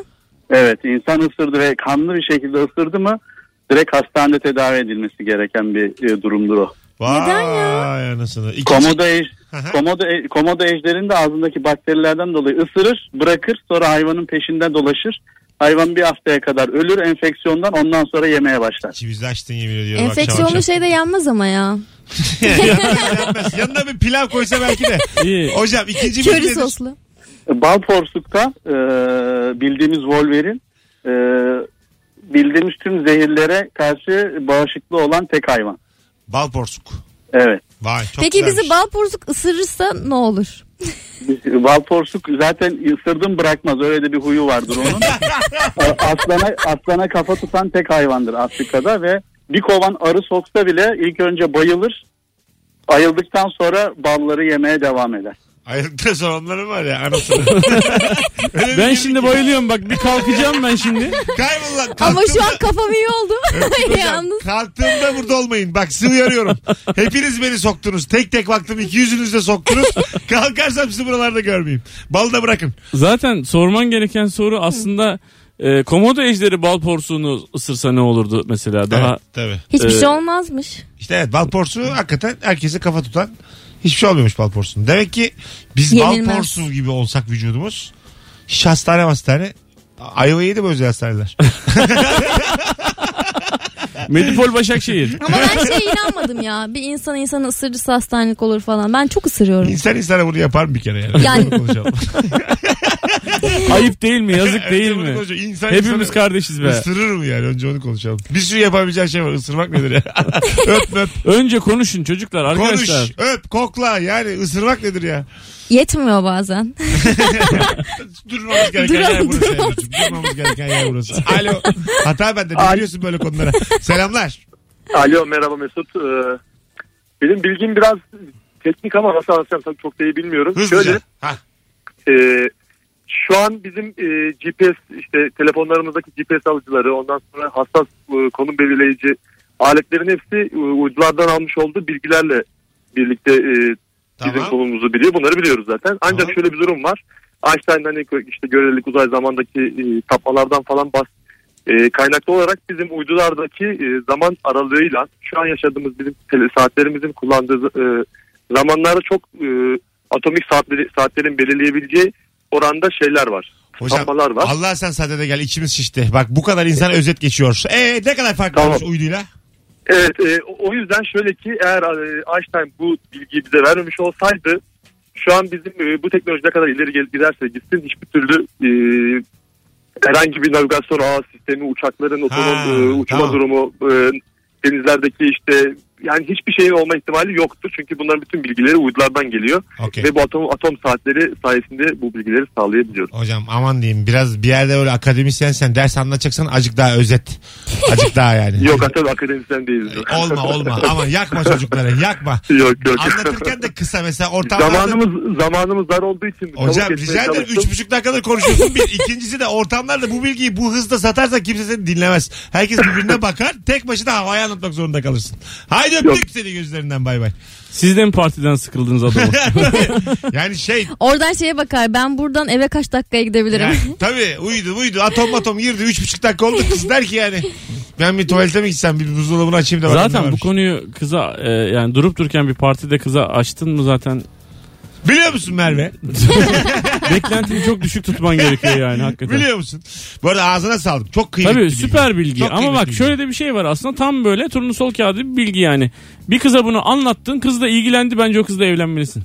E: Evet insan ısırdı ve kanlı bir şekilde ısırdı mı direkt hastanede tedavi edilmesi gereken bir e, durumdur o.
B: Vay
D: Neden
B: anasını. İkinci-
E: Komodo, ej,
B: Aha.
E: komodo, e- komodo ejderin de ağzındaki bakterilerden dolayı ısırır, bırakır, sonra hayvanın peşinden dolaşır. Hayvan bir haftaya kadar ölür enfeksiyondan ondan sonra yemeye başlar.
B: İkimizi açtın yemin ediyorum akşam akşam.
D: [laughs] Enfeksiyonlu şey de yenmez ama ya.
B: Yanmaz, yanmaz. Yanına bir pilav koysa belki de.
C: İyi.
B: Hocam ikinci bilgi
D: Köri
B: nedir?
D: soslu.
E: Bal porslukta e, bildiğimiz Wolverine e, bildiğimiz tüm zehirlere karşı bağışıklı olan tek hayvan.
B: Bal porsuk.
E: Evet.
B: Vay çok
D: Peki
B: güzelmiş.
D: bizi bal porsuk ısırırsa ne olur?
E: Bal porsuk zaten ısırdım bırakmaz. Öyle de bir huyu vardır onun. A- aslana, aslana kafa tutan tek hayvandır Afrika'da ve bir kovan arı soksa bile ilk önce bayılır. Ayıldıktan sonra balları yemeye devam eder.
B: Ayrıca sonra onların var ya
D: [laughs]
B: anasını. Öyle bir
C: Ben
B: bilgi
C: şimdi
B: ki.
C: bayılıyorum bak bir kalkacağım ben şimdi.
B: Kaybol lan.
D: Ama şu
B: kalktığımda-
D: an kafam iyi oldu.
B: [laughs] Hocam,
D: [laughs] Yalnız.
B: kalktığımda burada olmayın. Bak sizi uyarıyorum. Hepiniz beni soktunuz. Tek tek baktım iki yüzünüzle
D: [laughs]
B: soktunuz. Kalkarsam sizi buralarda görmeyeyim. Balı da bırakın.
C: Zaten sorman gereken soru aslında e, komodo ejderi bal porsuğunu ısırsa ne olurdu mesela daha
B: Evet, tabii.
D: Hiçbir
C: Ee,
D: şey olmazmış.
B: İşte evet bal porsuğu hakikaten herkese kafa tutan hiçbir şey olmuyormuş bal porsuğunun. Demek ki biz bal
D: Yenilmez.
B: porsuğu gibi olsak vücudumuz hiç hastane hastane Ayva yedi mi özel
C: [laughs]
B: hastaneler?
C: Medipol Başakşehir.
D: Ama ben şeye inanmadım ya. Bir insan insanı ısırırsa hastanelik olur falan. Ben çok ısırıyorum.
B: İnsan insana bunu yapar mı bir kere yani?
D: Yani-
B: Bunu konuşalım.
C: Ayıp değil mi? [laughs] Yazık değil
B: Önce bunu
C: mi?
B: konuşalım. İnsan
C: Hepimiz
B: insana- [laughs]
C: kardeşiz be.
B: Isırır mı yani? Önce onu konuşalım. Bir sürü yapabileceğin şey var. Isırmak nedir
D: [laughs]
B: ya? öp öp.
C: Önce konuşun çocuklar
B: Konuş,
C: arkadaşlar.
B: öp, kokla. Yani ısırmak nedir ya?
D: Yetmiyor bazen. [laughs]
B: Durmamız gereken
D: Duralım,
B: yer burası.
D: duralım.
B: Ebru'cum. Durmamız gereken yer burası.
D: [laughs]
B: Alo. Hata bende. Ne biliyorsun böyle konulara? Selamlar.
H: Alo merhaba Mesut. Ee, benim bilgim biraz teknik ama nasıl anlatacağım sana çok da iyi bilmiyorum.
B: Hızlıca. Ha.
H: Şöyle e, şu an bizim e, GPS işte telefonlarımızdaki GPS alıcıları ondan sonra hassas e, konum belirleyici aletlerin hepsi e, uydulardan almış olduğu bilgilerle birlikte e, bizim
B: Tamam.
H: konumumuzu biliyor. Bunları biliyoruz zaten. Ancak
B: Tamam.
H: şöyle bir durum var. Einstein'ın hani işte görelilik uzay zamandaki e, tapmalardan falan bahs e, kaynaklı olarak bizim uydulardaki e, zaman aralığıyla şu an yaşadığımız bizim tele- saatlerimizin kullandığı e, zamanlarda çok e, atomik saatleri, saatlerin belirleyebileceği oranda şeyler var.
B: Hocam
H: Tapmalar var.
B: Allah sen sadede gel içimiz şişti. Bak bu kadar insan özet geçiyor. E ne kadar fark
H: Tamam.
B: varmış uyduyla?
H: Evet e, o- o yüzden şöyle ki eğer e, Einstein bu bilgiyi bize vermemiş olsaydı şu an bizim e, bu teknoloji ne kadar ileri gel- giderse gitsin hiçbir türlü e, herhangi bir navigasyon ağ sistemi, uçakların otonom
B: Ha,
H: e, uçma
B: tamam.
H: durumu, e, denizlerdeki işte
K: yani hiçbir şeyin olma ihtimali yoktur. Çünkü bunların bütün bilgileri uydulardan geliyor.
B: Okey.
K: Ve bu atom, atom saatleri sayesinde bu bilgileri sağlayabiliyoruz.
B: Hocam aman diyeyim biraz bir yerde öyle akademisyen sen ders anlatacaksan acık daha özet.
K: [laughs]
B: Acık daha yani. E,
K: Yok hatta akademisyen değiliz. [laughs]
B: Olma
H: [laughs]
B: olma ama yakma çocukları yakma.
K: Yok yok.
B: Anlatırken de kısa mesela ortamlarda...
K: Zamanımız zamanımız dar olduğu için çabuk
B: Hocam
K: geçmeye
B: rica ederim
K: çalıştım.
B: üç buçuk dakikadır konuşuyorsun. Bir, ikincisi de ortamlarda bu bilgiyi bu hızda satarsa kimse seni dinlemez. Herkes birbirine bakar. Tek başına havaya anlatmak zorunda kalırsın. Haydi öptük seni gözlerinden bay bay.
C: Siz de mi partiden
B: [laughs]
C: sıkıldınız adamı?
D: [laughs]
B: Yani şey
D: Oradan şeye bakar ben buradan eve kaç dakikaya gidebilirim.
B: yani, tabii uyudu uyudu atom atom girdi üç buçuk dakika oldu kız der ki yani ben bir tuvalete mi gitsem bir buzdolabını açayım da bakayım ne
C: zaten bu
B: varmış.
C: konuyu kıza e, yani durup dururken bir partide kıza açtın mı zaten
B: Biliyor musun Merve?
C: beklentini çok düşük tutman gerekiyor yani hakikaten.
B: Biliyor musun? Bu arada ağzına sağlık. Çok kıymetli
C: Tabii
B: bilgi.
C: süper bilgi.
B: Çok
C: Ama
B: kıymetli
C: bak
B: bilgi.
C: şöyle de bir şey var aslında tam böyle turnusol kağıdı bir bilgi yani. Bir kıza bunu anlattın kız da ilgilendi bence o kızla evlenmelisin.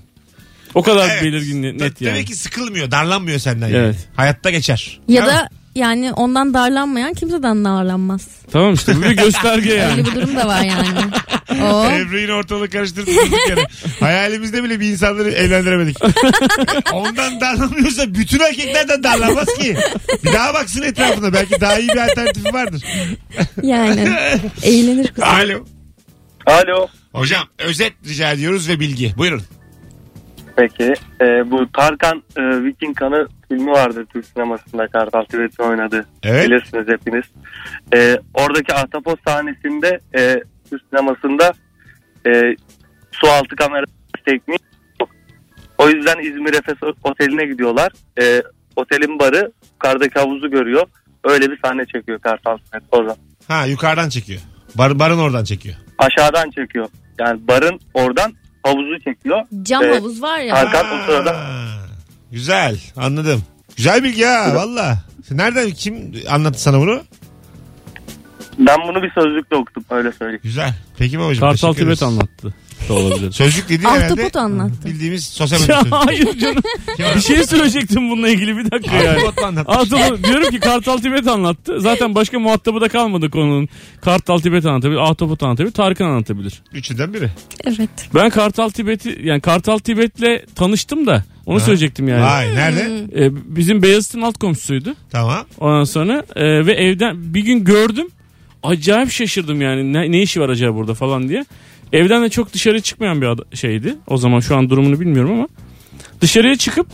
C: O kadar
B: Evet.
C: belirgin net, net
B: Ta-
C: yani.
B: Demek ki sıkılmıyor, darlanmıyor senden yani.
C: Evet.
B: Hayatta geçer.
D: ya
B: Tamam.
D: da yani ondan darlanmayan kimseden darlanmaz.
C: Tamam işte bu bir gösterge yani.
D: Öyle bir durum da var
B: [laughs]
D: yani. Oo.
B: Evrenin ortalığı karıştırdınız bir kere. Hayalimizde bile bir insanları evlendiremedik. Ondan darlanmıyorsa bütün erkeklerden darlanmaz ki. Bir daha baksın etrafına. Belki daha iyi bir alternatifi vardır.
D: Yani
B: [laughs]
D: eğlenir kız.
B: Alo.
H: Alo.
B: Hocam özet rica ediyoruz ve bilgi. Buyurun.
H: Peki. Ee, bu Tarkan e, Viking Kanı filmi vardır Türk sinemasında Kartal Tibet'i oynadı.
B: Evet.
H: Bilirsiniz hepiniz. Ee, oradaki ahtapot sahnesinde e, Türk sinemasında e, su altı kamera tekniği yok. O yüzden İzmir Efes Oteli'ne gidiyorlar. Ee, otelin barı yukarıdaki havuzu görüyor. Öyle bir sahne çekiyor Kartal Tibet orada.
B: Ha yukarıdan çekiyor. Bar, barın oradan çekiyor.
H: Aşağıdan çekiyor. Yani barın oradan havuzu çekiyor.
D: Cam
H: Evet.
D: havuz var ya.
H: Tarkan
B: Ha,
H: o sırada
B: Güzel anladım. Güzel bilgi ha valla. Nereden kim anlattı sana bunu?
H: ben bunu bir sözlükle okudum öyle söyleyeyim.
B: Güzel. Peki babacığım.
C: [laughs] Kartal
B: teşekkür ederiz.
C: Tibet anlattı. Da olabilir.
B: Sözlük dediğin herhalde
D: Ahtapot anlattı.
B: bildiğimiz sosyal
C: [laughs]
B: medya
C: Ya
B: sözlüğü.
C: hayır canım. bir şey söyleyecektim bununla ilgili bir dakika yani.
B: Ahtapot mu anlatmış?
C: Ahtapot- diyorum ki Kartal Tibet anlattı. Zaten başka muhatabı da kalmadı konunun. Kartal Tibet anlatabilir, Ahtapot anlatabilir, Tarkan anlatabilir.
B: Üçünden biri.
D: Evet.
C: Ben Kartal Tibet'i yani Kartal Tibet'le tanıştım da onu
B: Ha.
C: söyleyecektim yani.
B: Vay nerede?
D: Hmm.
C: Ee, bizim Beyazıt'ın alt komşusuydu.
B: Tamam.
C: Ondan sonra e, ve evden bir gün gördüm. Acayip şaşırdım yani ne, ne işi var acaba burada falan diye. Evden de çok dışarı çıkmayan bir ad- şeydi. O zaman şu an durumunu bilmiyorum ama. Dışarıya çıkıp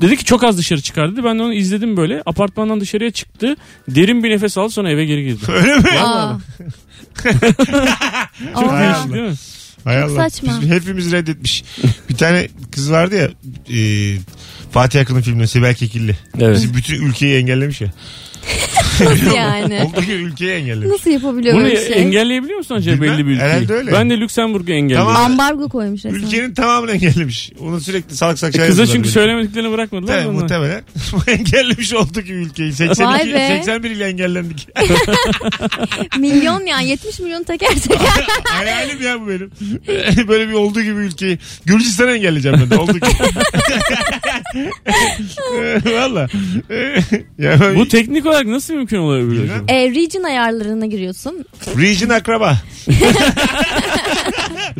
C: dedi ki çok az dışarı çıkar dedi. Ben de onu izledim böyle. Apartmandan dışarıya çıktı. Derin bir nefes aldı sonra eve geri girdi.
B: [laughs] Öyle mi?
D: Aa.
B: Hay
D: Aa.
B: Allah.
C: Değil mi?
B: Hay
D: Çok
B: Allah.
D: saçma.
B: Biz- hepimiz reddetmiş. bir tane kız vardı ya e, Fatih Akın'ın filminde Sibel Kekilli.
C: Evet.
B: Bizi bütün ülkeyi engellemiş ya.
D: Nasıl yani?
B: Oradaki ülkeyi engellemiş.
D: Nasıl yapabiliyor
C: Bunu
D: böyle bir şey?
C: engelleyebiliyor musun acaba
B: Bilmem,
C: belli bir ülkeyi?
B: herhalde öyle.
C: Ben de Lüksemburg'u engelledim.
B: Tamam.
D: Ambargo koymuş resmen.
B: Ülkenin tamamını engellemiş. Onu sürekli salak salak
C: E,
B: şeyler
C: Kıza
B: yazıyorlar
C: çünkü
B: böyle.
C: söylemediklerini bırakmadılar.
B: Tabii
C: mı?
B: muhtemelen. [laughs] engellemiş oldu ki ülkeyi.
D: Vay
B: 82,
D: be.
B: 81 ile
D: [laughs]
B: engellendik.
D: Milyon yani 70 milyon teker teker.
B: [laughs] Hayalim ya bu benim. [laughs] Böyle bir olduğu gibi ülkeyi. Gürcistan'ı engelleyeceğim ben de. Olduğu gibi. [laughs] Valla. [laughs] ya ben-
C: Bu teknik olarak nasıl mümkün olabilir?
B: Bilmem.
C: acaba?
D: e, region ayarlarına giriyorsun.
B: Region akraba.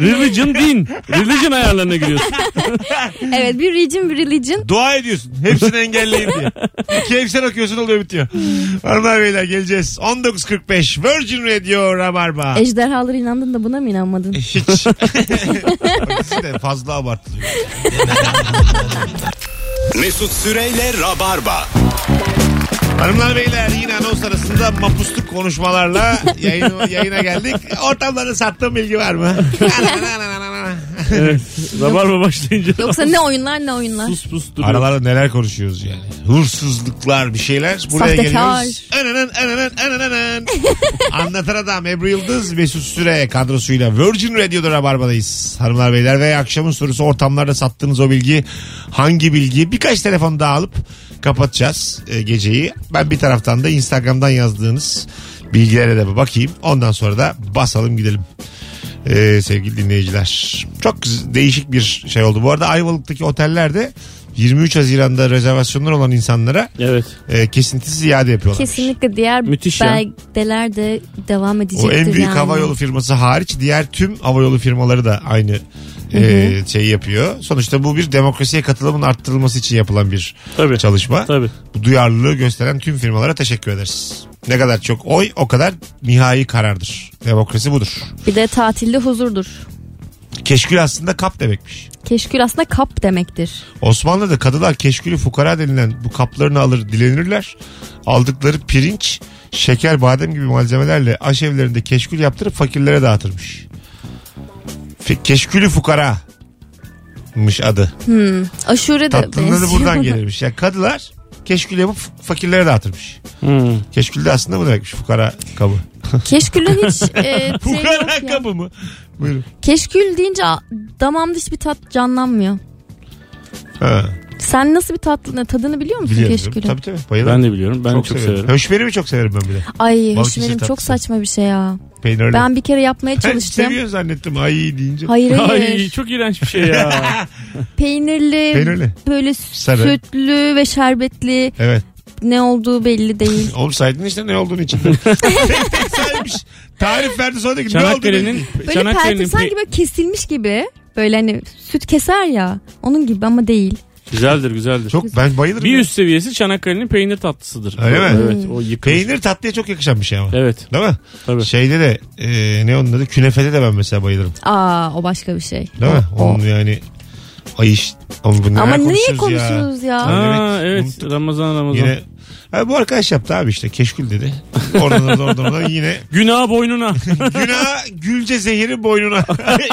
C: Religion din. Religion ayarlarına giriyorsun.
D: Evet bir region bir religion.
B: Dua ediyorsun. Hepsini engelleyin diye. Kevser okuyorsun oluyor bitiyor. Hanımlar beyler geleceğiz. 19.45 Virgin Radio Rabarba.
D: E- Ejderhalara inandın da buna mı inanmadın?
B: E, Hiç. [laughs] Bak, siz de fazla abartılıyor.
A: Mesut Süreyle Rabarba.
B: Hanımlar beyler yine anons arasında mapusluk konuşmalarla yayın, yayına geldik. Ortamlarda sattığım bilgi var mı?
C: evet. Rabarba başlayınca.
D: Yoksa ne oyunlar ne oyunlar.
C: Pus pus duruyor.
B: Aralarda neler konuşuyoruz yani. Hırsızlıklar bir şeyler. Buraya
D: Sahtekar.
B: geliyoruz. Ananan, ananan, ananan. [laughs] Anlatan adam Ebru Yıldız Mesut Süre kadrosuyla Virgin Radio'da Rabarba'dayız. Hanımlar beyler ve akşamın sorusu ortamlarda sattığınız o bilgi hangi bilgi? Birkaç telefon daha alıp kapatacağız e, geceyi. Ben bir taraftan da Instagram'dan yazdığınız bilgilere de bir bakayım. Ondan sonra da basalım gidelim. E, Ee, sevgili dinleyiciler. Çok güz- değişik bir şey oldu. Bu arada Ayvalık'taki otellerde 23 Haziran'da rezervasyonlar olan insanlara
C: evet.
B: e, kesintisiz iade yapıyorlar.
D: Kesinlikle diğer
B: Müthiş ya.
D: belgeler de devam edecektir.
B: O en büyük
D: yani.
B: havayolu firması hariç diğer tüm havayolu firmaları da aynı
D: Hı
B: e, şey yapıyor. Sonuçta bu bir demokrasiye katılımın arttırılması için yapılan bir çalışma. Bu duyarlılığı gösteren tüm firmalara teşekkür ederiz. Ne kadar çok oy o kadar nihai karardır. Demokrasi budur.
D: Bir de tatilde huzurdur.
B: Keşkül aslında kap demekmiş.
D: Keşkül aslında kap demektir.
B: Osmanlı'da kadılar keşkülü fukara denilen bu kaplarını alır dilenirler. Aldıkları pirinç, şeker, badem gibi malzemelerle aşevlerinde keşkül yaptırıp fakirlere dağıtırmış. Fe- Keşkülü fukaramış adı.
D: Hmm. Aşure de
B: Tatlının adı
D: benziyor.
B: buradan
D: [laughs]
B: gelirmiş. Yani kadılar keşkül yapıp fakirlere dağıtırmış.
C: Hmm.
B: Keşkül de aslında bu demekmiş fukara kabı.
D: Keşkülün hiç
B: [laughs]
D: e,
B: Fukara kabı mı? Buyurun.
D: Keşkül deyince a- damamda hiçbir tat canlanmıyor.
B: Ha,
D: Sen nasıl bir tatlı tadını biliyor musun
B: biliyorum.
D: keşkülün?
B: Tabii tabii. Bayılırım.
C: Ben de biliyorum. Ben çok severim.
B: Höşmeri mi çok severim ben bile.
D: Ay
B: Balıkesir
D: hoşmerim çok
B: tatlısı.
D: saçma bir şey ya.
B: Peynirli.
D: Ben bir kere yapmaya
B: Ben
D: çalıştım.
B: seviyor zannettim ay deyince.
D: Hayır, hayır.
C: Ay çok iğrenç bir [laughs] şey ya.
D: Peynirli,
B: Peynirli.
D: böyle
B: Sarı.
D: sütlü ve şerbetli
B: Evet.
D: ne olduğu
B: [laughs]
D: belli değil.
B: Oğlum saydın işte ne olduğunu
C: [laughs]
B: için. Saymış. Tarif verdi sonra dedi ki ne oldu?
C: Çanakkale'nin
D: Böyle
C: Çanakkale'nin
D: perte sanki
C: pe-
D: böyle kesilmiş gibi. Böyle hani süt keser ya. Onun gibi ama değil.
C: güzeldir güzeldir.
B: Çok ben bayılırım.
C: bir
B: ya.
C: üst seviyesi Çanakkale'nin peynir tatlısıdır.
B: Öyle mi?
C: Evet o yıkılmış.
B: Peynir tatlıya çok yakışan bir şey ama.
C: Evet.
B: Değil mi?
C: Tabii.
B: Şeyde de e, ne onun adı? Künefede de ben mesela bayılırım.
D: Aa o başka bir şey.
B: Değil mi?
C: Oh.
B: Onun yani ay iş. Ama, bu neler
D: Ama niye
B: konuşuyoruz ya?
D: konuşuyoruz ya?
C: Ha, evet,
B: Unuttuk.
C: Ramazan Ramazan.
B: Yine Ha, bu arkadaş yaptı abi işte keşkül dedi. Oradan oradan oradan, oradan yine
C: Günah [laughs] boynuna.
B: günah gülce zehiri boynuna.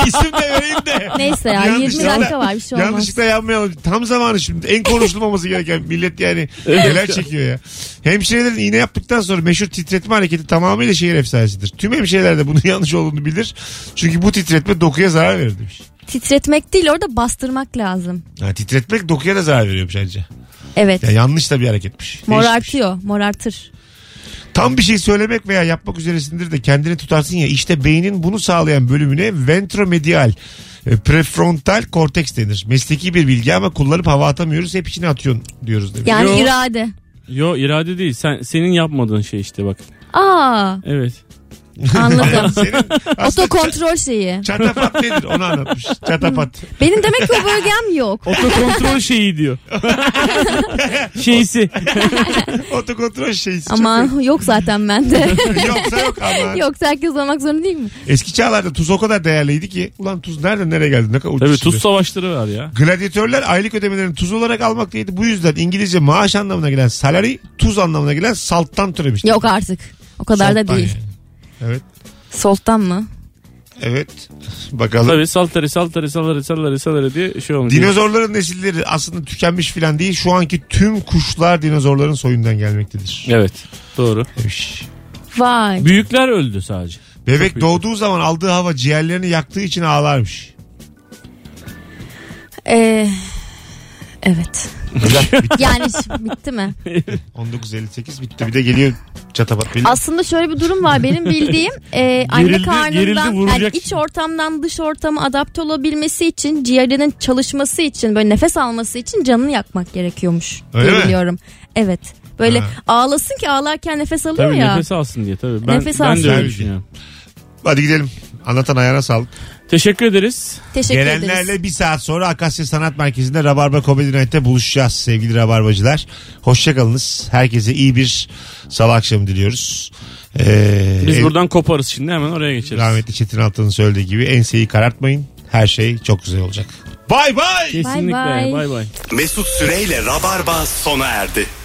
B: İsim de vereyim de.
D: Neyse ya 20
B: Yanlışlıkla-
D: dakika var bir şey olmaz.
B: Yanlışlıkla yanmayalım. Tam zamanı şimdi. En konuşulmaması gereken millet yani neler çekiyor ya. Hemşirelerin iğne yaptıktan sonra meşhur titretme hareketi tamamıyla şehir efsanesidir. Tüm hemşireler de bunun [laughs] yanlış olduğunu bilir. Çünkü bu titretme dokuya zarar verir demiş.
D: Titretmek değil orada bastırmak lazım.
B: Ha, titretmek dokuya da zarar veriyormuş bence.
D: Evet.
B: Ya şey. yanlış da bir hareketmiş. Değişikmiş.
D: Morartıyor. Morartır.
B: Tam bir şey söylemek veya yapmak üzeresindir de kendini tutarsın ya işte beynin bunu sağlayan bölümüne ventromedial e, prefrontal korteks denir. Mesleki bir bilgi ama kullanıp hava atamıyoruz hep içine atıyorsun diyoruz demiş.
D: Yani
C: Yo.
D: irade.
C: Yo irade değil. Sen senin yapmadığın şey işte bak.
D: Aa
C: Evet.
B: [laughs]
D: anladım.
B: Senin
D: [laughs]
B: aslında
D: Otokontrol şeyi.
B: çatapat nedir onu anlatmış. Çatapat.
D: [laughs] Benim demek ki o bölgem yok.
C: Otokontrol şeyi [laughs] diyor. Şeysi.
B: Otokontrol şeysi. [laughs] çok
D: Aman [laughs] yok zaten
B: [laughs]
D: bende.
B: iyi. [laughs] Yoksa yok ama.
D: [laughs] yok herkes olmak zorunda değil mi?
B: Eski çağlarda tuz o kadar değerliydi ki. Ulan tuz nereden nereye geldi? Ne kadar ucuz
C: Tabii
B: şimdi.
C: tuz savaşları var ya.
B: Gladyatörler aylık ödemelerini tuz olarak almaktaydı. Bu yüzden İngilizce maaş anlamına gelen salary tuz anlamına gelen salttan türemişti.
D: Yok artık. O kadar da
B: Salttan
D: değil.
B: yani. Evet.
D: Soltan mı?
B: Evet. Bakalım.
C: Tabii saltare saltare saltare saltare saltare diye şey olmuş.
B: Dinozorların nesilleri aslında tükenmiş filan değil. Şu anki tüm kuşlar dinozorların soyundan gelmektedir.
C: Evet. Doğru.
B: Demiş.
D: Vay.
C: Büyükler öldü sadece.
B: Bebek
C: Çok
B: doğduğu zaman aldığı hava ciğerlerini yaktığı için ağlarmış.
D: Ee, evet. [laughs] yani ş- bitti mi?
B: 1958 bitti. Bir de geliyor çatapat. Bilir.
D: Aslında şöyle bir durum var benim bildiğim. e, anne
C: Gerildi- gerildi,
D: karnından yani
C: vuracak.
D: iç ortamdan dış ortama adapte olabilmesi için ciğerlerinin çalışması için böyle nefes alması için canını yakmak gerekiyormuş.
B: Öyle
D: diye
B: mi?
D: biliyorum. Evet. Böyle
B: Ha.
D: ağlasın ki ağlarken nefes alıyor
C: Tabii
D: ya.
C: nefes alsın diye tabii. Ben,
D: Nefes
C: ben
D: alsın.
C: de öyle
B: Tabii ki.
C: düşünüyorum.
B: Hadi gidelim. Anlatan ayağına sağlık.
C: Teşekkür ederiz.
D: Teşekkür ederiz.
B: Gelenlerle bir saat sonra Akasya Sanat Merkezi'nde Rabarba Comedy Night'te buluşacağız sevgili Rabarbacılar. Hoşçakalınız. Herkese iyi bir salı akşamı diliyoruz. Ee,
C: Biz
B: en-
C: buradan koparız şimdi hemen oraya geçeriz.
B: Rahmetli Çetin Altan'ın söylediği gibi enseyi karartmayın. Her şey çok güzel olacak. Bay bay.
C: Kesinlikle.
D: Bay bay.
C: Bay bay.
A: Mesut Süreyle Rabarba sona erdi.